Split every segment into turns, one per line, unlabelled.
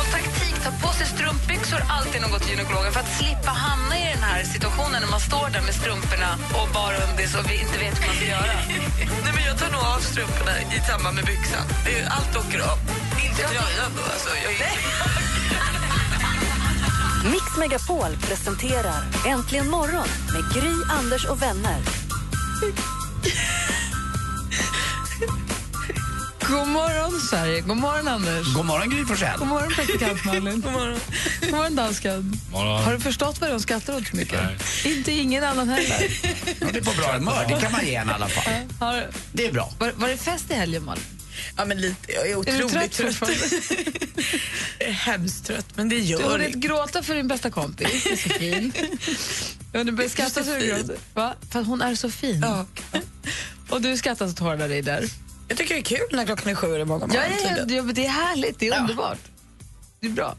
Och taktik, ta på sig strumpbyxor alltid något till gynekologen för att slippa hamna i den här situationen när man står där med strumporna och bara undis och vi inte vet vad man ska göra.
Nej, men jag tar nog av strumporna i samband med byxan. Det är ju- Allt åker av. Inte tröjan då. Alltså, jag är
Mix Megapol presenterar Äntligen morgon med Gry, Anders och vänner.
God morgon, Sverige. God morgon, Anders.
God morgon Gry Forssell.
God morgon, praktikant Malin. God morgon, God morgon dansken.
morgon.
Har du förstått vad de skrattar åt så mycket? Inte ingen annan heller.
Ja, det är på bra humör, det kan man ge en i alla fall.
Har,
Det är bra.
var, var det fest i helgen, Malin?
Ja, men lite. Jag är
Är du
otroligt
trött
trött.
fortfarande?
Jag är hemskt trött, men det
Du
gör
borde
inget.
inte gråta för din bästa kompis. Du är så fin. Ja, du börjar skratta så du gråter. Va? För att hon är så fin.
Ja.
Och du skrattar så tårarna rinner.
Jag tycker det är kul när klockan är sju eller måndag
Ja, ja,
morgon.
ja,
tydligen.
ja, men det är härligt. Det är underbart. Det är bra.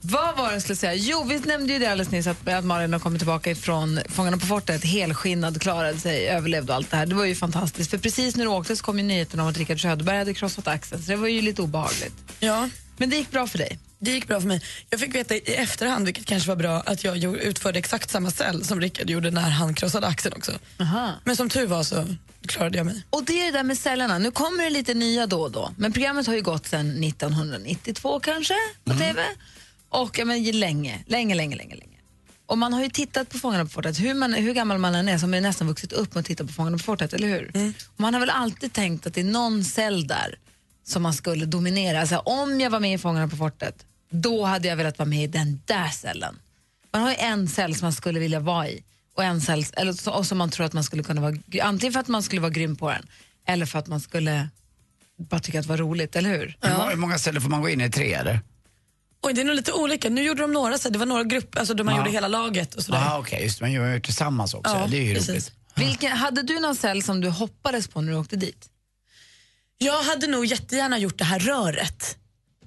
Vad var det jag skulle säga? Jo, vi nämnde ju det alldeles nyss att, att Malin har kommit tillbaka från Fångarna på fortet, helskinnad, klarade sig, överlevde och allt det här. Det var ju fantastiskt. För precis när du åkte så kom ju nyheten om att Rickard Söderberg hade krossat axeln, så det var ju lite obehagligt.
ja,
Men det gick bra för dig.
det gick bra för mig. Jag fick veta i efterhand, vilket kanske var bra, att jag gjorde- utförde exakt samma cell som Rickard gjorde när han krossade axeln också.
Aha.
Men som tur var så klarade jag mig.
Och det är det där med cellerna. Nu kommer det lite nya då och då. Men programmet har ju gått sedan 1992 kanske på TV. Och ja, men, ju länge, länge, länge, länge, länge. Och man har ju tittat på Fångarna på fortet, hur, man, hur gammal man än är så har man ju nästan vuxit upp med att titta på Fångarna på fortet, eller hur? Och man har väl alltid tänkt att det är någon cell där som man skulle dominera. Alltså, om jag var med i Fångarna på fortet, då hade jag velat vara med i den där cellen. Man har ju en cell som man skulle vilja vara i och en cell eller, så- och som man tror att man skulle kunna vara, gr- antingen för att man skulle vara grym på den eller för att man skulle bara tycka att det var roligt, eller hur?
Hur många- Hur många ställen får man gå in i? Tre eller?
Oj, det är nog lite olika. Nu gjorde de några, så här, det var några grupper, alltså där man gjorde hela laget och sådär.
Jaha Ah, okej, just det. Man gör ju tillsammans också.
Ja,
det är ju
precis.
roligt.
Vilken, hade du någon cell som du hoppades på när du åkte dit?
Jag hade nog jättegärna gjort det här röret.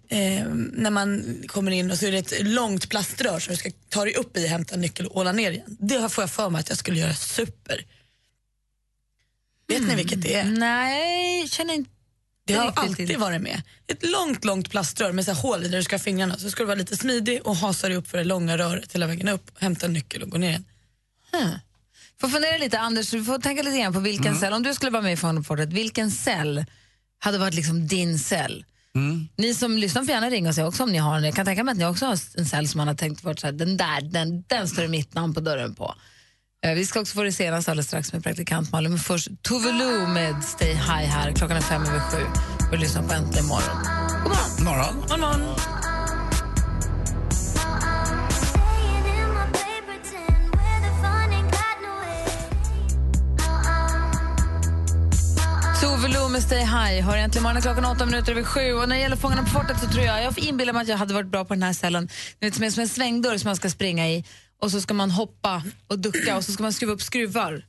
Eh, när man kommer in och så är det ett långt plaströr som du ska ta dig upp i, hämta en nyckel och åla ner igen. Det här får jag för mig att jag skulle göra super. Vet ni vilket det är?
Nej, känner inte
Hmm. Det har
riktigt
alltid
till.
varit med. Ett långt, långt plaströr med så här hål i där du ska ha fingrarna. Så ska du vara lite smidig och hasa dig upp för det långa röret hela vägen upp, hämta en nyckel och gå ner igen.
Får fundera lite, Anders, du får tänka lite grann på vilken cell, om du skulle vara med i Fångarna på fortet, vilken cell hade varit liksom din cell? Ni som lyssnar får gärna ringa och säga också om ni har en. Jag kan tänka mig att ni också har en cell som man har tänkt varit så här, den där, den, den står det mitt namn på dörren på. Eh, Vi ska också få det senaste alldeles strax med praktikant Malin, men först Tove Lo med Stay High här. Klockan är fem över sju och lyssna på Äntligen morgon. God morgon!
Morgon.
Morgon, morgon.
Tove Lo med Stay High har egentligen morgonen klockan åtta minuter över sju. Och när det gäller Fångarna på fortet så tror jag, jag inbillar mig att jag hade varit bra på den här cellen. Ni vet, som är som en svängdörr som man ska springa i och så ska man hoppa och ducka och så ska man skruva upp skruvar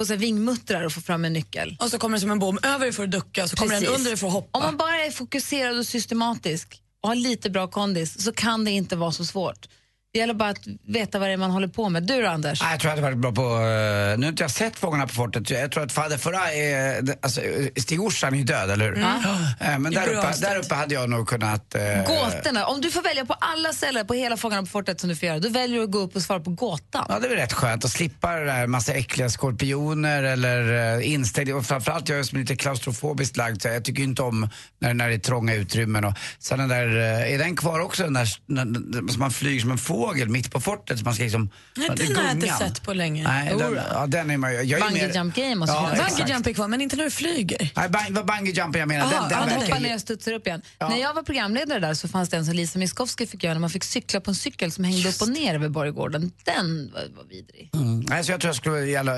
och så här vingmuttrar och få fram en nyckel.
Och så kommer det som en bom över dig för att ducka och så kommer den
Precis.
under dig för att hoppa.
Om man bara är fokuserad och systematisk och har lite bra kondis så kan det inte vara så svårt. Det gäller bara att veta vad det är man håller på med. Du då, Anders?
Nej, jag tror jag hade varit bra på... eh, Nu har inte jag sett Fångarna på fortet. Jag tror att Fader Farah är... Alltså, eh, Stig Orsan är ju död, eller hur?
Mm.
Eh, Men
I
där uppe,
Brunstad.
där uppe hade jag nog kunnat... eh,
Gåtorna. Om du får välja på alla celler på hela Fångarna på fortet som du får göra, då väljer du att gå upp och svara på gåtan.
Ja, det är väl rätt skönt att slippa det där massa äckliga skorpioner eller eh, instängda. Och framförallt jag som är lite klaustrofobiskt lagd, så jag tycker ju inte om när, när det är trånga utrymmen. Och sen den där, eh, är den kvar också, den där s- när- när- som man flyger som en fågel mitt på fortet. Så man ska liksom,
Nej,
det är
den har jag inte
gungan.
sett på länge.
Nej, den,
Jodå.
ja, den är man ju- jag är
Bungee
mer-
jump game måste
ja,
finnas.
exakt.
Bungee jump är kvar, men inte när du flyger.
Nej, bang, vad bungee jumping jag menar.
Aha,
den, den
ja,
Man
den
hoppar
verkar
verkar
ju-
ner och studsar upp igen. När jag var programledare där så fanns det en som Lisa Miskovsky fick göra när man fick cykla på en cykel som hängde upp och ner över Borggården. Den var, var vidrig.
Mm. Nej, så jag tror jag skulle gälla,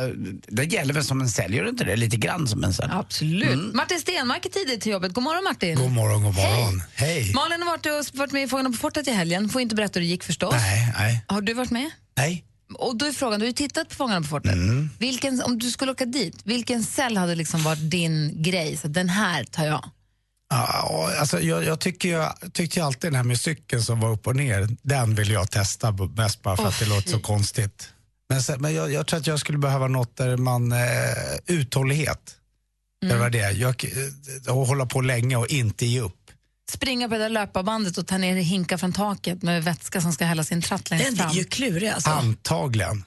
det gäller väl som en sälj, gör det inte det? Lite grann som en sälj.
Absolut. Martin Stenmark är tidigt till jobbet. God morgon Martin.
God morgon, god morgon. Hej.
Malin har varit, och, varit med i Fångarna på fortet i helgen. Får inte berätta hur det gick förstås.
Nej, nej,
Har du varit med?
nej.
Och då är frågan, du har ju tittat på Fångarna på fortet.
Mm.
Vilken, om du skulle åka dit, vilken cell hade liksom varit din grej? Så den här tar jag.
Ja, alltså jag, jag, tycker ju- jag tyckte ju alltid den här med cykeln som var upp och ner, den vill jag testa b- mest bara för att det låter så konstigt. Men, sen, men jag, jag tror att jag skulle behöva något där man, eh, uthållighet. Det var det. Jag, eh, och hålla på länge och inte ge upp.
Springa på det där löparbandet och ta ner hinkar från taket med vätska som ska hällas i en tratt längst
Den
fram.
är ju klurig alltså.
Antagligen.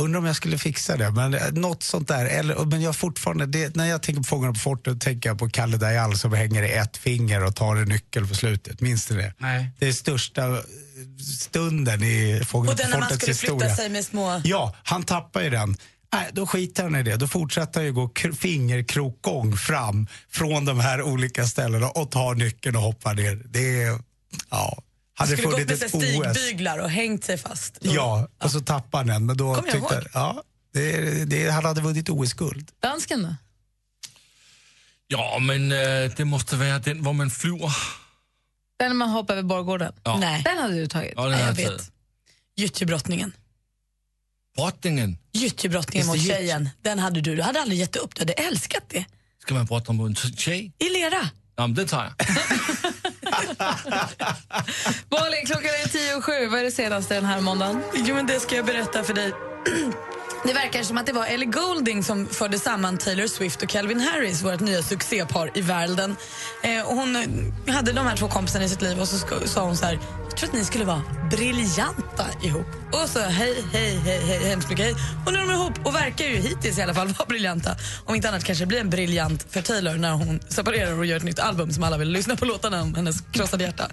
Undrar om jag skulle fixa det, men eh, något sånt där. Eller, men jag fortfarande, det, när jag tänker på Fångarna på fortet tänker jag på Kalle Dajal som hänger i ett finger och tar en nyckel på slutet. Minns du det?
Nej.
Det är största eh, stunden i
Mm.
Fångarna
Och
på
den när man
fortets
skulle
historia.
flytta sig med små...
Ja, han tappar ju den. Nej, då skiter han i det. Då fortsätter han ju gå kr- fingerkrokgång fram från de här olika ställena och tar nyckeln och hoppar ner. Det är, ja. Hade
Skulle gått
funnits
med sig
ett OS.
stigbyglar och hängt sig fast. Då-
Ja, och så tappar han den. Men då
Kommer jag
tyckte
ihåg.
ja, det, det, han hade vunnit OS-guld.
Dansken då?
Ja, men eh, det måste vara den var man flyger.
Den när man hoppar över Borggården?
Ja.
Nej.
Den hade du tagit?
Ja, den
Nej,
har
jag
jag
vet.
tagit.
Gyttjebrottningen.
Brottningen.
Gyttjebrottningen mot tjejen. Den hade du. Du hade aldrig gett upp. Du hade älskat det.
Ska man brotta mot en t- tjej?
I lera.
Ja, men den tar jag.
Malin, klockan är tio och sju. Vad är det senaste den här måndagen?
Jo, men det ska jag berätta för dig. Det verkar som att det var Ellie Goulding som förde samman Taylor Swift och Calvin Harris, vårt nya succépar i världen. Eh, och hon eh, hade de här två kompisarna i sitt liv och så sk- sa hon så här, jag tror att ni skulle vara briljanta ihop. Och så hej, hej, hej, hej, hemskt mycket hej. Och nu är de ihop och verkar ju hittills i alla fall vara briljanta. Om inte annat kanske det blir en briljant för Taylor när hon separerar och gör ett nytt album som alla vill lyssna på låtarna om hennes krossade hjärta.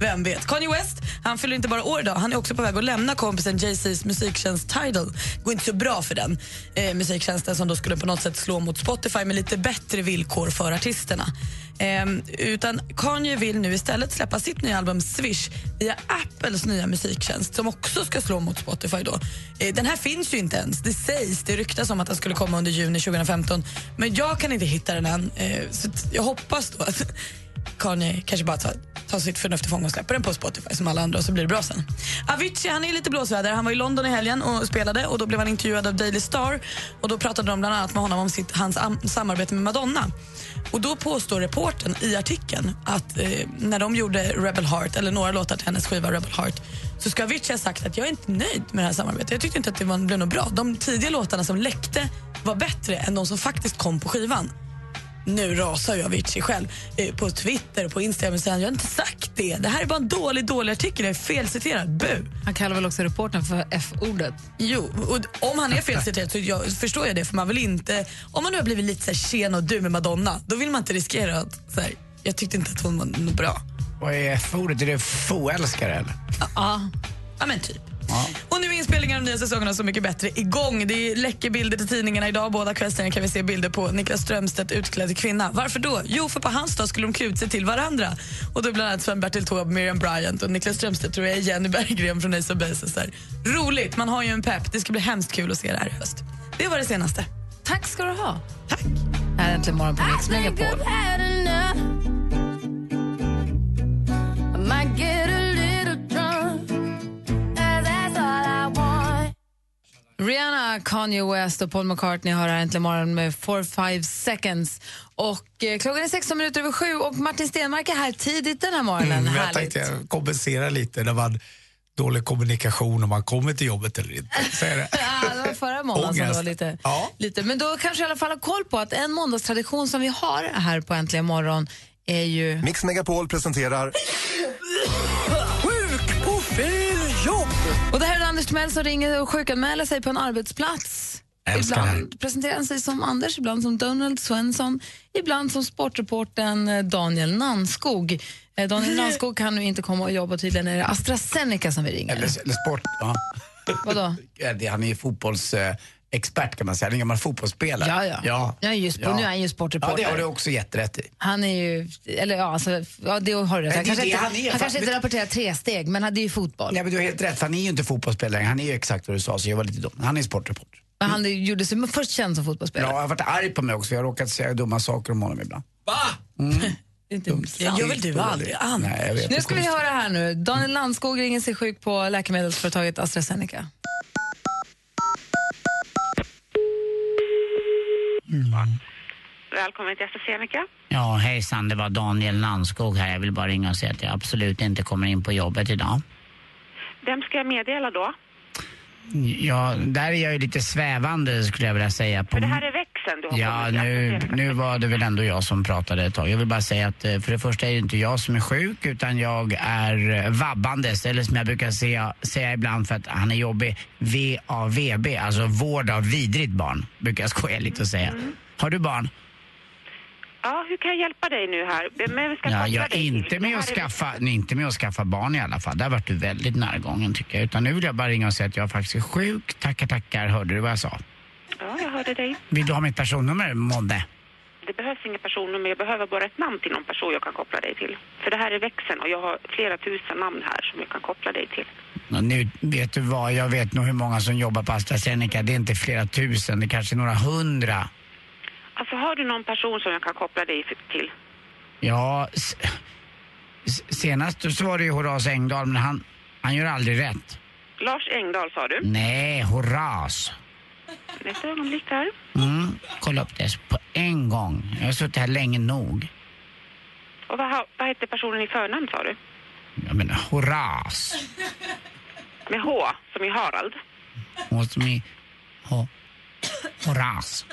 Vem vet? Kanye West, han fyller inte bara år idag, han är också på väg att lämna kompisen Jay-Z's musiktjänst Tidal. går inte så bra för den eh, musiktjänsten som då skulle på något sätt slå mot Spotify med lite bättre villkor för artisterna. Ehm, utan Kanye vill nu istället släppa sitt nya album Swish via Apples nya musiktjänst som också ska slå mot Spotify. Då. Eh, den här finns ju inte ens. Det sägs, det ryktas om att den skulle komma under juni 2015 men jag kan inte hitta den än. Eh, så att jag hoppas då att Kanye kanske bara tar, tar sitt förnuft till fånga och släpper den på Spotify som alla andra och så blir det bra sen. Avicii han är lite blåsväder. Han var i London i helgen och spelade och då blev han intervjuad av Daily Star och då pratade de bland annat med honom om sitt, hans am- samarbete med Madonna. Och då påstår reporten i artikeln att eh, när de gjorde Rebel Heart eller några låtar till hennes skiva Rebel Heart så ska Avicii ha sagt att jag är inte nöjd med det här samarbetet. Jag tyckte inte att det var, blev något bra. De tidiga låtarna som läckte var bättre än de som faktiskt kom på skivan. Nu rasar ju Avicii själv eh, på Twitter och på Instagram och säger jag har inte sagt det. Det här är bara en dålig, dålig artikel. Jag är felciterad. Bu!
Han kallar väl också reportern för F-ordet?
Jo, och om han är felciterad så jag, förstår jag det. För man vill inte, om man nu har blivit lite så här tjen och du med Madonna, då vill man inte riskera att så här, jag tyckte inte att hon var något bra.
Vad är F-ordet? Är det fåälskare eller?
Ja.
Ja, men typ. Och nu är inspelningen av nya säsongen av Så mycket bättre igång. Det läcker bilder till tidningarna idag. Båda kvällstidningarna kan vi se bilder på Niklas Strömstedt utklädd till kvinna. Varför då? Jo, för på hans dag skulle de klä ut sig till varandra. Och då bland annat Sven-Bertil Taube, Miriam Bryant och Niklas Strömstedt tror jag är Jenny Berggren från Ace of Base. och så här. Roligt, man har ju en pepp. Det ska bli hemskt kul att se det här i höst. Det var det senaste.
Tack ska du ha. Tack. Det här är äntligen morgon på Mix Megapol. Rihanna, Kanye West och Paul McCartney har här äntligen morgon med 4-5 seconds. Och eh, klockan är 16 minuter över sju och Martin Stenmark är här tidigt den här morgonen.
Mm, jag
Härligt.
tänkte kompensera lite när man dålig kommunikation om man kommer till jobbet eller inte. Så är det.
Ja, det var förra måndagen som det
Ångest.
var lite,
Ja.
lite. Men då kanske jag i alla fall har koll på att en måndagstradition som vi har här på Äntligen morgon är ju...
Mix Megapol presenterar
Och det här är Anders Timell som ringer och sjukanmäler sig på en arbetsplats.
Älskar
Ibland presenterar han sig som Anders, ibland som Donald Svensson, ibland som sportreportern Daniel eh, Nanskog. Eh, Daniel Ranskog kan nu inte komma och jobba, tydligen är det AstraZeneca som vi ringer.
Eller, eller sport. Ja.
Vadå?
Ja, det- Han är ju fotbollsexpert kan man säga. Han är en gammal fotbollsspelare.
Ja, ja.
ja.
Jag är ju sp- Nu är han
Ja,
ju
det
sportreporter.
har du också jätterätt i.
Han är ju, eller ja, alltså, ja det har du rätt.
det
Han
är
kanske
det
inte,
han är,
han kanske
fast-
inte rapporterar tre steg men han det är ju fotboll.
Nej, men du har helt rätt. Han är ju inte fotbollsspelare längre. Han är ju exakt vad du sa, så jag var lite dum. Han är sportreporter.
Men han gjorde sig först känd som
Ja,
fotbollsspelare.
jag har varit arg på mig också, för jag har råkat säga dumma saker om honom ibland.
Det är inte sant.
Jag vill du aldrig an.
Nej, jag vet.
Nu ska vi höra här nu. Daniel Landskog ringer sig sjuk på läkemedelsföretaget AstraZeneca.
Välkommen till AstraZeneca.
Ja, hejsan, det var Daniel Landskog här. Jag vill bara ringa och säga att jag absolut inte kommer in på jobbet idag.
Vem ska jag meddela då?
Ja, där är jag ju lite svävande skulle jag vilja säga. På...
För det här är växeln du har
Ja,
kommit till
nu,
AstraZeneca.
nu var det väl ändå jag som pratade ett tag. Jag vill bara säga att eh, för det första är det inte jag som är sjuk utan jag är eh, vabbandes, eller som jag brukar säga, säga ibland för att han är jobbig, VAVB, alltså vård av vidrigt barn, brukar jag skoja lite och säga.
Mm.
Har du barn?
Ja, hur kan jag hjälpa dig nu här? Vem ska
Ja,
koppla
jag är
dig
inte
till?
med,
Det
att
här är
skaffa, nej, inte med att skaffa barn i alla fall. Där vart du väldigt närgången tycker jag. Utan nu vill jag bara ringa och säga att jag faktiskt är sjuk. Tackar, tackar. Hörde du vad jag sa?
växeln. Ja, jag hörde dig.
Vill du ha mitt personnummer, Modde?
Det behövs inget personnummer. Jag behöver bara ett namn till någon person jag kan koppla dig till. För det här är växeln och jag har flera tusen namn här som jag kan koppla dig till.
Ja, Nu vet du vad, jag vet nog hur många som jobbar på AstraZeneca. Det är inte flera tusen, det är kanske är några hundra.
Alltså, har du någon person som jag kan koppla dig f- till?
Ja, s- s- senast så var det ju Horace Engdahl, men han, han gör aldrig rätt.
Lars Engdahl sa du.
Nej, Horace.
Ett ögonblick här.
Mm, kolla upp det på en gång. Jag har suttit här länge nog.
Och vad, ha- vad hette personen i förnamn sa du?
Jag menar, Horace.
Med H, som i Harald.
Måste ni ha Horace?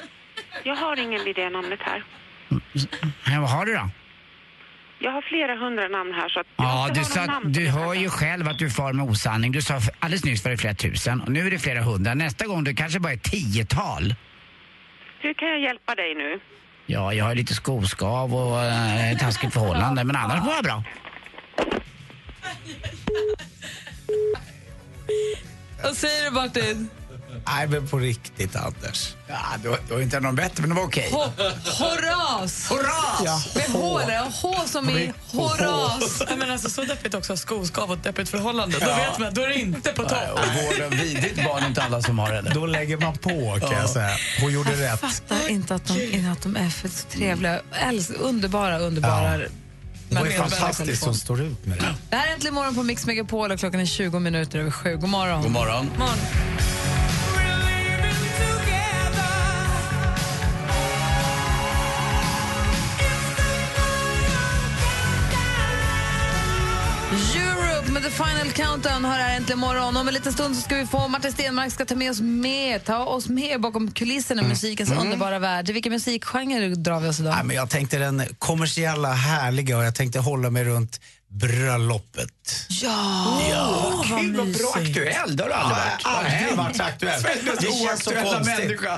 Jag har ingen vid det namnet här.
Ja, Mm, Vad har du då?
Jag har flera hundra namn här så att... jag
Ja,
måste
du,
ha någon
sa,
namn som
du
jag kan
hör ju
ta.
själv att du far med osanning. Du sa f- alldeles nyss var det flera tusen och nu är det flera hundra. Nästa gång du kanske bara är tiotal.
Hur kan jag hjälpa dig nu?
Ja, jag har lite skoskav och eh, ett taskigt förhållande, men annars mår jag bra.
Vad säger du Martin?
Nej, men på riktigt Anders.
Ja, du, har- du har inte någon bättre, men det var okej.
Ho- Horas!
Hurra!
Med H, där. H som i Horas.
Ja, men alltså, så deppigt också, skoskav och ett deppigt förhållande. Då vet man, då är det inte på topp.
Och vård av vidrigt barn är inte alla som har det.
Då lägger man på kan jag säga. Hon gjorde
Jag
rätt.
fattar inte att de, att de är för så trevliga. Äls, underbara, underbara.
Hon är
Men-
fantastisk som står ut med det.
Det här är Äntligen morgon på Mix Megapol och klockan är 20 minuter över sju. God morgon.
God morgon.
Europe med The Final Countdown hör här äntligen morgon. Om en liten stund så ska vi få Martin Stenmark ska ta med oss med, ta oss med bakom kulisserna i musikens underbara värld. Till vilken musikgenre drar vi oss idag?
Mm. Nej, men jag tänkte den kommersiella härliga och jag tänkte hålla mig runt bröllopet.
Gud vad bra aktuell, det har du aldrig varit.
Jag har
Vad har
aldrig
hänt?
varit aktuell.
Sveriges mest
Det känns så
oaktuella
konstigt.
människa.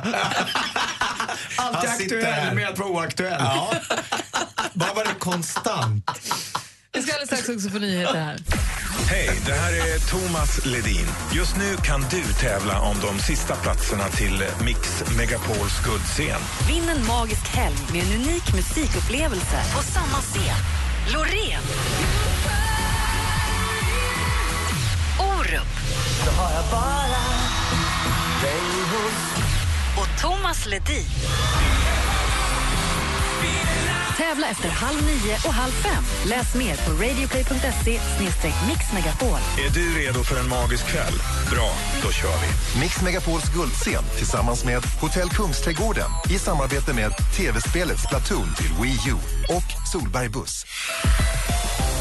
Alltid
Han sitter här.
aktuell med att vara oaktuell.
Ja. Bara var det konstant.
Vi ska alldeles strax också få nyheter här.
Hej, det här är Thomas Ledin. Just nu kan du tävla om de sista platserna till Mix Megapols guldscen.
Vinn en magisk helg med en unik musikupplevelse på samma scen. Loreen. Orup. Och Thomas Ledin. Tävla efter halv nio och halv fem. Läs mer på radioplay.se mixmegapol.
Är du redo för en magisk kväll? Bra, då kör vi.
Mix Megapols guldscen tillsammans med Hotell Kungsträdgården i samarbete med tv-spelet Splatoon till Wii U och Solberg Buss.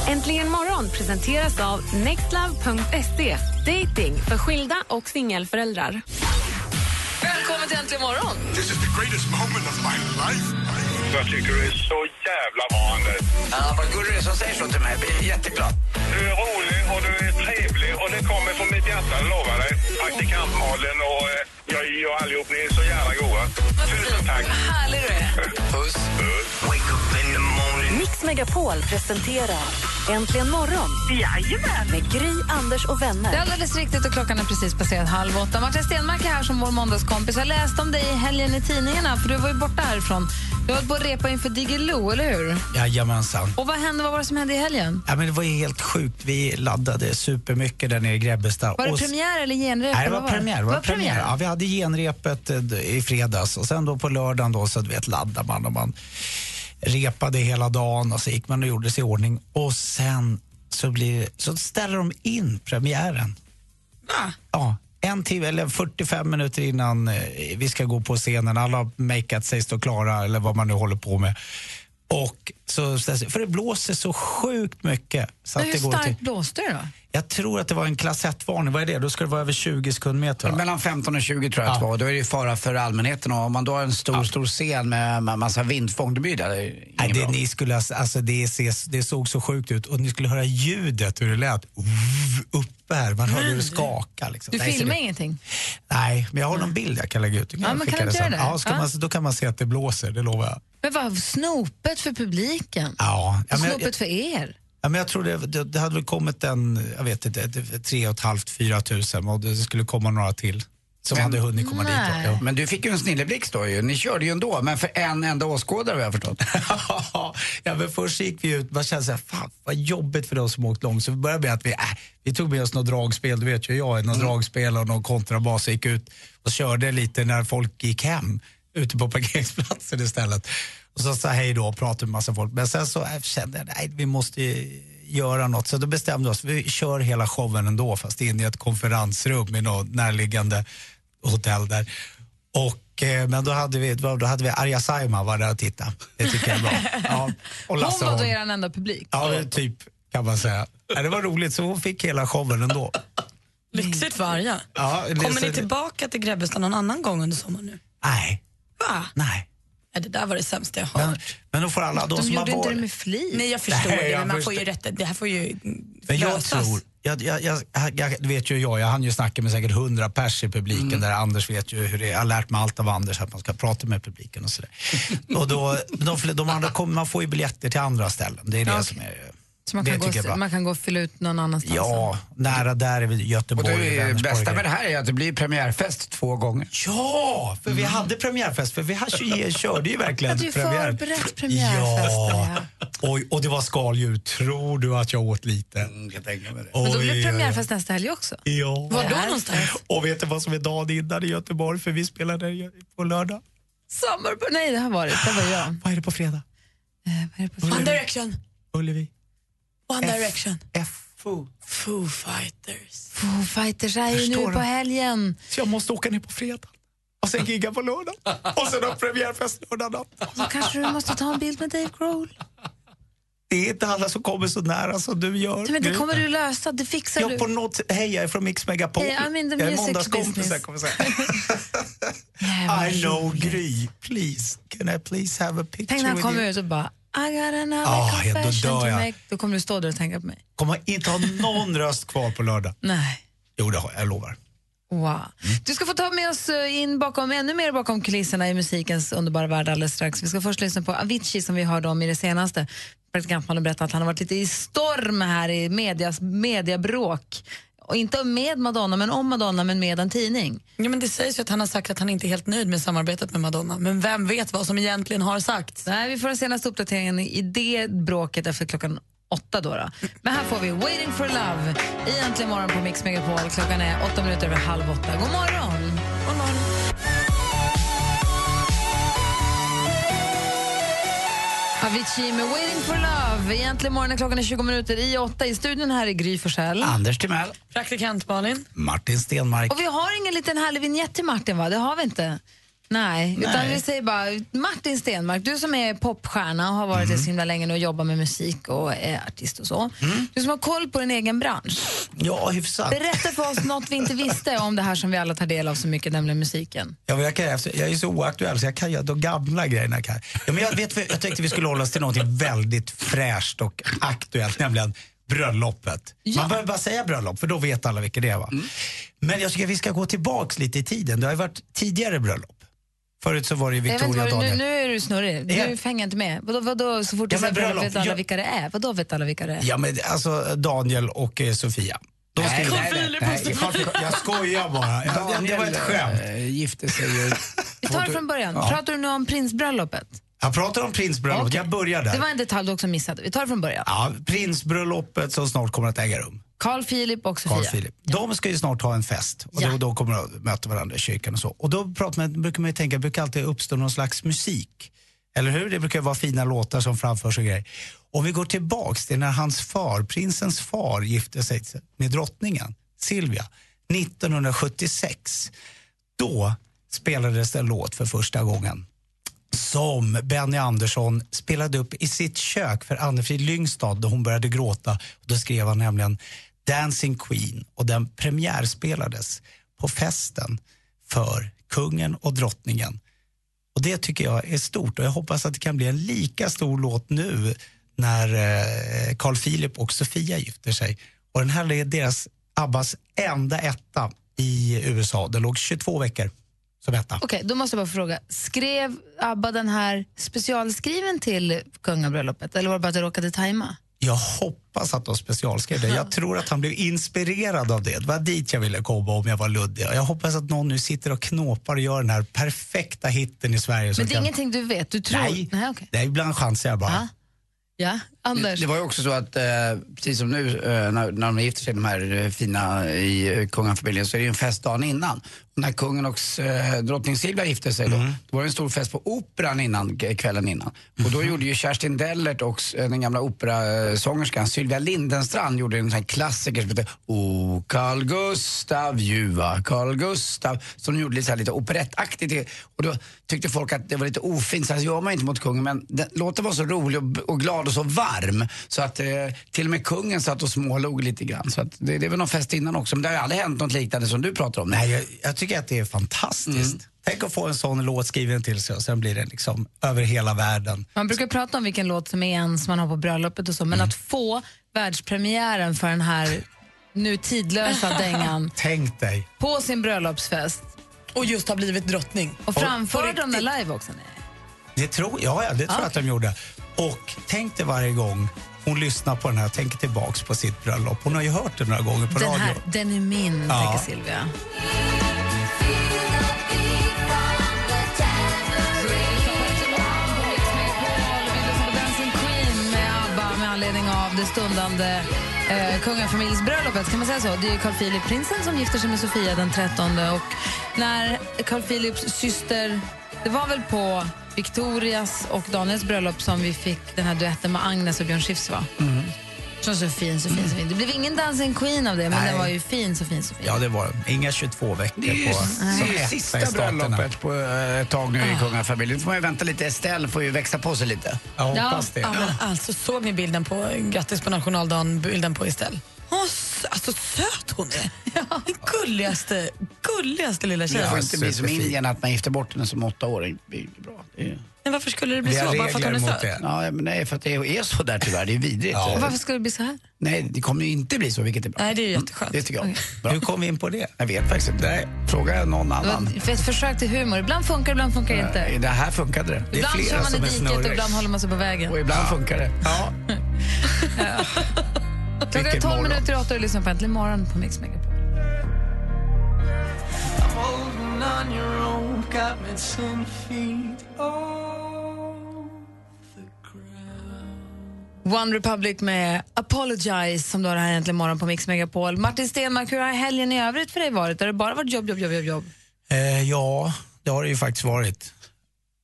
Äntligen morgon presenteras av nextlove.se. Dating för skilda och singelföräldrar.
Välkommen till Äntligen morgon.
This is the greatest moment of my life. Jag tycker du är så jävla vanlig.
Ja, vad gullig du är som säger så till mig. Jag blir jätteglad.
Du är rolig och du är trevlig och det kommer från mitt hjärta, jag lovar dig. Praktikant Malin och eh, jag, jag allihop, ni är så jävla goa. Tusen
Tack.
Härlig du är.
Puss. Wake up in the morning.
Mix Megapol presenterar Äntligen morgon Jajamän. med Gry, Anders och vänner.
Det är alldeles riktigt och klockan är precis passerat halv åtta. Martin Stenmark är här som vår måndagskompis. Jag läste om dig i helgen i tidningarna för du var ju borta härifrån. Du höll på att repa inför Diggiloo, eller hur?
Jajamensan.
Och vad hände, vad var det som hände i helgen?
Ja, men det var ju helt sjukt. Vi laddade supermycket där nere i Grebbestad.
Var det
Och s-
premiär eller
Nej,
genrep?
det
eller
var
vad
premiär. Det
Det
var premiär. Ja, vi hade genrepet eh, d- i fredags och sen då på lördagen då så du vet laddade man och man repade hela dagen och så gick man och gjorde sig i ordning och sen så, blir, så ställer de in premiären. Ja, en timme eller 45 minuter innan eh, vi ska gå på scenen. Alla har makeat sig stå klara eller vad man nu håller på med. Och så, ställs- för det blåser så sjukt mycket. Så
Men
att
hur
det går till,
starkt blåste det då?
jag tror att det var en klass 1-varning. Vad är det? Då ska det vara över 20 sekundmeter. va?
Mellan 15 och 20 tror jag att det var. Då är det ju fara för allmänheten. Och om man då har en stor, stor scen med ma- massa vindfång, det blir det. det är inget
Nej, det,
bra.
ni skulle, ha- alltså, det, ses, det såg så sjukt ut och ni skulle höra ljudet hur det lät. Uff, Uppe här, man hörde hur det skakade. Liksom.
Du
Nej, så
filmar
det,
ingenting?
Nej, men jag har någon bild jag kan lägga ut. Jag
Ja, men
skicka
kan du inte
sen.
göra det?
Ja, ska
Ja.
Man, då kan man se att det blåser, det lovar jag.
Men vad snopet för publiken?
Ja, ja, men,
snopet
jag,
för er?
ja, men jag tror det, det, det hade väl kommit en, jag vet inte, ett- tre och ett halvt, fyra tusen och det skulle komma några till som hade hunnit komma dit.
Nej.
Ja.
Men du fick ju en snilleblixt då ju. Ni körde ju ändå, men för en enda åskådare har jag förstått.
ja, men först gick vi ut, man kände så här, fan vad jobbigt för de som åkt långt. Så vi började med att vi, äh, vi tog med oss något dragspel, du vet ju hur jag är, något dragspel och någon kontrabas gick ut och körde lite när folk gick hem ute på parkeringsplatsen istället. Och så sa jag hej då och pratade med massa folk. Men sen så äh, kände jag, nej vi måste ju göra något. Så då bestämde vi oss, vi kör hela showen ändå fast in i ett konferensrum i något närliggande hotell där. Och, eh, men då hade vi, då hade vi Arja Saijonmaa var där och tittade. Det tycker jag är bra. Ja, och
Hon
Lasse
var då
Holm.
er enda publik?
Ja, men typ kan man säga. Ja, det var roligt, så hon fick hela showen ändå.
Lyxigt för Arja.
Ja, det-
Kommer
så-
ni tillbaka till Grebbestad någon annan gång under sommaren nu?
Nej.
Va?
Nej.
Ja, det där var det sämsta jag har
Men, men då får alla de,
De
som har
gjorde inte
varit...
det med flit. Nej, jag förstår det, men man får ju rätta- det här får ju
Men jag
lösas.
tror, jag, jag, jag, jag, du vet ju hur jag, jag hann ju snacka med säkert hundra pers i publiken
Mm.
där Anders vet ju hur det är. Jag har lärt mig allt av Anders att man ska prata med publiken och sådär. och då, de, de andra kommer, man får ju biljetter till andra ställen. Det är det
Ja,
som är...
Så man
det
kan, gå,
tycker jag är bra.
man kan gå och fylla ut någon annanstans?
Ja, nära där är väl
Och
Göteborg.
det är-
Vänersborg.
bästa med det här är att det blir premiärfest två gånger.
Ja, för vi hade premiärfest, för vi hade, körde ju verkligen
Att Mm. du
premiär.
förberett premiärfesten,
Ja, Oj, och det var skaldjur. Tror du att jag åt lite?
jag tänker mig det.
Men då blir det premiärfest nästa helg också?
Ja.
Var då någonstans?
Och vet du vad som är dagen innan i Göteborg? För vi spelade i- på lördag.
Sommar på... Nej, det har varit. Det var jag. Eh,
Vad är det på fredag?
One Direction.
Ullevi.
One Direction.
F. Foo.
Foo Fighters.
Foo Fighters är ju
Förstår
nu
du?
på helgen.
Så jag måste åka ner på fredag. Och sen gigga på lördag. Och sen ha premiärfest lördag natt.
Så kanske du måste ta en bild med Dave Grohl.
Det är inte alla som kommer så nära som du gör.
Men det
Gry.
kommer du lösa, det fixar
Jag
du.
på något sätt, hej jag är från Mix Megapol.
Hey, I'm in the
jag är
music
måndagskompis,
business.
jag kommer säga. I know Gry, please. Can I please have a picture
Tänk när han
with
kommer
you?
ut och bara I got another
Ah, ja, då
confession
dör
to
jag.
make. Då kommer du stå där och tänka på mig.
Kommer inte ha någon röst kvar på lördag.
Nej.
Jo, det har jag, jag lovar.
Wow. Du ska få ta med oss eh, in bakom, ännu mer bakom kulisserna i musikens underbara värld alldeles strax. Vi ska först lyssna på Avicii som vi hörde om i det senaste. Praktikantmannen berättade att han har varit lite i storm här i medias, mediabråk. Och inte med Madonna, men om Madonna, men med en tidning.
Ja, men det sägs ju att han har sagt att han inte är helt nöjd med samarbetet med Madonna. Men vem vet vad som egentligen har sagts?
Nej, vi får den senaste uppdateringen i det bråket efter klockan åtta. Då då. Men här får vi Waiting for love i Äntligen morgon på Mix Megapol. Klockan är åtta minuter över halv åtta. God morgon! God morgon. Avicii med Waiting for love. Egentligen morgon är klockan är 20 minuter i åtta. I studion här är Gry Forssell.
Anders Timell.
Praktikant Malin.
Martin Stenmark.
Och vi har ingen liten härlig vignett till Martin, va? Det har vi inte. Nej, utan
Nej.
vi säger bara Martin Stenmark, du som är popstjärna och har varit
Mhm.
det så himla länge nu och jobbar med musik och är artist och så. Du som har koll på din egen bransch.
Mm. Ja, hyfsat.
Berätta för oss något vi inte visste om det här som vi alla tar del av så mycket, nämligen musiken.
Ja, men jag, kan, alltså, jag är så oaktuell så jag kan göra de gamla grejerna. Kan. jag. Ja, men jag, vet, jag tänkte vi skulle hålla oss till något väldigt fräscht och aktuellt, nämligen bröllopet. Man behöver bara säga bröllop, för då vet alla vilket det är. Va? Men jag tycker att vi ska gå tillbaks lite i tiden. Det har ju varit tidigare bröllop. Förut så var det ju
Jag vet inte
Victoria
vad
och
du, nu,
Daniel.
nu är du snurrig. Du
Ja.
hänger inte med. Vadå, vadå så fort
Ja,
du
men
säger bröllop
bröllop,
vet alla
ja.
vilka det är? Vadå vet alla vilka det är?
Ja men alltså Daniel och eh, Sofia. De
Nej,
skulle-
Carl Philip
nej,
måste-
Carl Philip- Jag skojar bara. Jag, det var ett skämt.
eh, gifte sig ju...
Vi tar det från början.
Ja.
Pratar du nu om prinsbröllopet?
Jag pratar om prinsbröllopet, jag börjar där.
Det var en detalj du också missade. Vi tar det från början.
Ja, prinsbröllopet som snart kommer att äga rum.
Carl Philip och Sofia.
Carl Philip. De ska ju snart ha en fest och då, då kommer de att möta varandra i kyrkan och så. Och då pratar man, brukar man ju tänka, brukar alltid uppstå någon slags musik. Eller hur? Det brukar ju vara fina låtar som framförs och grejer. Om vi går tillbaks till när hans far, prinsens far, gifte sig med drottningen Silvia 1976. Då spelades det en låt för första gången som Benny Andersson spelade upp i sitt kök för Anne-Frid Lyngstad då hon började gråta. Och då skrev han nämligen Dancing Queen och den premiärspelades på festen för kungen och drottningen. Och det tycker jag är stort och jag hoppas att det kan bli en lika stor låt nu när eh, Carl Philip och Sofia gifter sig. Och den här är deras, Abbas enda etta i USA. Den låg 22 veckor som etta.
Okej, då måste jag bara fråga. Skrev ABBA den här specialskriven till kungabröllopet eller var det bara att det råkade tajma?
Jag hoppas att de specialskrev det. Jag tror att han blev inspirerad av det. Det var dit jag ville komma om jag var luddig. Och Jag hoppas att någon nu sitter och knåpar och gör den här perfekta hitten i Sverige. som
Men det är
kan-
ingenting du vet? Du tror?
Nej.
Nej okej.
Nej, ibland chansar jag bara.
Ja. Ja, Anders?
Det, det var ju också så att, eh, precis som nu eh, när, när de gifter sig, de här eh, fina i eh, kungafamiljen, så är det ju en fest dagen innan. Och när kungen och eh, drottning Silvia gifte sig då, då var det en stor fest på Operan innan, k- kvällen innan. Och då gjorde ju Kerstin Dellert och s- eh, den gamla operasångerskan Sylvia Lindenstrand gjorde en sån här klassiker som hette O oh, Carl Gustav, ljuva Carl Gustav, som de gjorde lite, så här, lite operettaktigt. Och då tyckte folk att det var lite ofint, så här gör man inte mot kungen, men den, låten var så rolig och, b- och glad och så varm så att eh, till och med kungen satt och smålog lite grann. Så att det, det är väl någon fest innan också, men det har ju aldrig hänt något liknande som du pratar om.
Nej, jag, jag tycker att det är fantastiskt.
Mm.
Tänk att få en sån låt skriven till sig och sen blir den liksom över hela världen.
Man brukar prata om vilken låt som är ens man har på bröllopet och så,
Mm.
men att få världspremiären för den här nu tidlösa dängan
Tänk dig.
på sin bröllopsfest.
Och just har blivit drottning.
Och framförde de den live också? Nej.
Det tror, ja, ja, det tror jag att de gjorde. Och tänk dig varje gång hon lyssnar på den här, tänker tillbaks på sitt bröllop. Hon har ju hört det några gånger på
Den
radio.
här, den är min,
Ja.
tänker Silvia. Dancing Queen med ABBA med anledning av det stundande eh, kungafamiljsbröllopet. Kan man säga så? Det är ju Carl Philip, prinsen, som gifter sig med Sofia den 13. Och när Carl Philips syster... Det var väl på Victorias och Daniels bröllop som vi fick den här duetten med Agnes och Björn Skifs, va? Som så fin, så fin, så fin. Det blev ingen Dancing Queen av det, men
Nej.
den var ju fin, så fin, så fin.
Ja, det var de. Inga 22 veckor
Det är ju
på
det är ju
etta i
sista
staterna.
bröllopet på eh, ett tag nu i kungafamiljen. Nu får man ju vänta lite. Estelle får ju växa på sig lite.
Ja, men alltså, såg ni bilden på, grattis på nationaldagen, bilden på Estelle? Hon, s- alltså söt hon är! Den gulligaste, gulligaste lilla
Det
tjejen.
får inte bli som Indien att man gifter bort henne som åttaåring. Det är ju bra. Det är...
Men varför skulle det bli så? Bara för att hon är söt?
Ja, men nej, för att det är så där tyvärr. Det är vidrigt. Eh,
Och Varför skulle det bli så här?
Nej, det kommer ju inte bli så, vilket är bra. Mm,
Nej, det är ju jätteskönt.
Det tycker jag.
Hur kom vi in på det?
Jag vet faktiskt inte. Nej, Fråga någon
Det
annan.
var ett försök till humor. Ibland funkar ibland funkar det inte.
Nej, Det här funkade det. Det är
Ibland kör
flera
man i
som är
diket och
snurrig.
ibland håller man sig på vägen.
Och ibland funkar det.
Ja.
Klockan är 12 minuter i åtta och du lyssnar på Äntligen morgon på Mix Megapol. One Republic med Apologize som du har här äntligen morgon på Mix Megapol. Martin Stenmark, hur har helgen i övrigt för dig varit? Har det bara varit jobb, jobb, jobb, jobb, jobb?
Eh, ja, det har det ju faktiskt varit.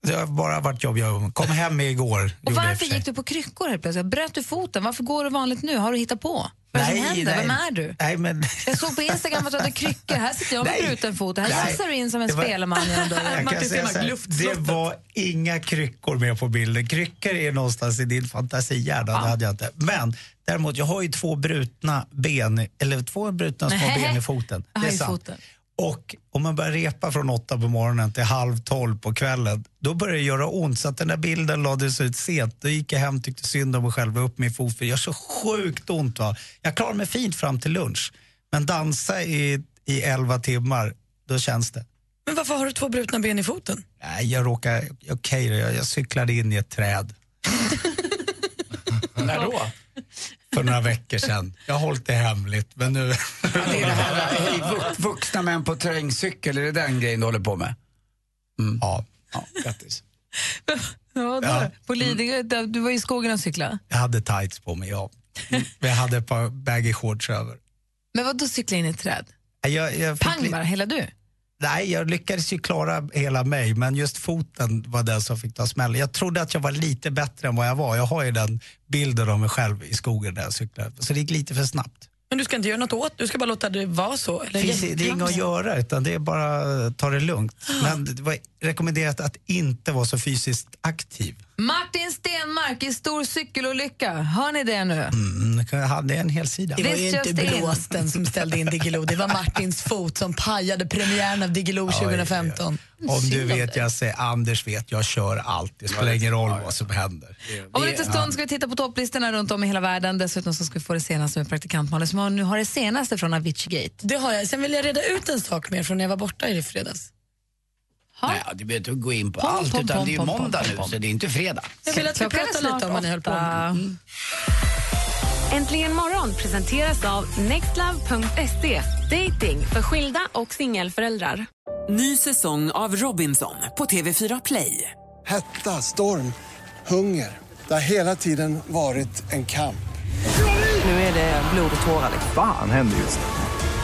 Det har bara varit jobb jag kom hem med igår.
Och
gjorde jag i och för
varför
sig.
gick du på kryckor helt plötsligt? Bröt du foten? Varför går du vanligt nu? Har du hittat på? Vad är det som händer? Vem är du?
Nej, men...
Jag såg på Instagram att du hade kryckor. Här sitter jag med
Nej.
bruten fot. Här
Nej.
satsar du in som en
Det var-
spelman genom dörren.
Jag kan säga så här, det var inga kryckor med på bilden. Kryckor är någonstans i din fantasihjärna, det hade jag inte. Men däremot, jag har ju två brutna ben, eller två brutna små
Nej.
ben i foten.
Jag
Det
har
är
ju
sant.
foten.
Och om man börjar repa från åtta på morgonen till halv tolv på kvällen, då börjar det göra ont. Så att den där bilden lades ut sent. Då gick jag hem tyckte synd om mig själv och upp min fot, för det gör så sjukt ont. Va? Jag klarar mig fint fram till lunch, men dansa i, i elva timmar, då känns det.
Men varför har du två brutna ben i foten?
Nej, jag råkar, okej då, jag, jag cyklade in i ett träd.
När då?
För några veckor sedan. Jag har hållit det hemligt, men nu...
Det är det här, hej,
eh,
vux- vuxna män på terrängcykel, är det den grejen du håller på med? Mm.
Ja.
ja, grattis.
Ja, då.
Ja.
På Lidingö, där- du var i skogen och cyklade.
Jag hade tights på mig, ja. Men jag hade ett par baggy shorts över.
Men vad då cykla in i ett träd?
Nej, Jag, jag fick
Pang
li-
bara, hela du?
Nej, jag lyckades ju klara hela mig, men just foten var den som fick ta smällen. Jag trodde att jag var lite bättre än vad jag var. Jag har ju den bilden av mig själv i skogen där jag cyklade. Så det gick lite för snabbt.
Men du ska inte göra något åt, du ska bara låta det vara så. Eller
Finns det, det är inget att göra, utan det är bara att ta det lugnt. Men det var rekommenderat att inte vara så fysiskt aktiv.
Martin Stenmark i stor cykelolycka. Hör ni det nu?
Mm, jag hade en hel sida.
Det var ju
This
inte
just in.
blåsten som ställde in Diggiloo, det var Martins fot som pajade premiären av Diggiloo 2015.
Om du vet, jag säger Anders vet, jag kör allt. Det spelar ingen roll vad som händer.
Om en liten stund ska vi titta på topplistorna runt om i hela världen. Dessutom så ska vi få det senaste med praktikant Malin som har- nu har det senaste från Avicii Gate.
Det har jag. Sen vill jag reda ut en sak mer från när jag var borta i fredags.
Nej, du behöver inte gå in på
Pom,
allt,
pom,
utan
pom,
det är ju
pom, pom,
måndag
pom,
nu,
pom.
så det är inte fredag.
Jag vill att vi
Klockan är
pratar lite
snart
om vad ni höll på med.
åtta.
Äntligen morgon presenteras av nextlove.se. Dating för skilda och singelföräldrar.
Ny säsong av Robinson på TV4 Play.
Hetta, storm, hunger. Det har hela tiden varit en kamp.
Nu är det blod och tårar. liksom?
Fan händer just nu.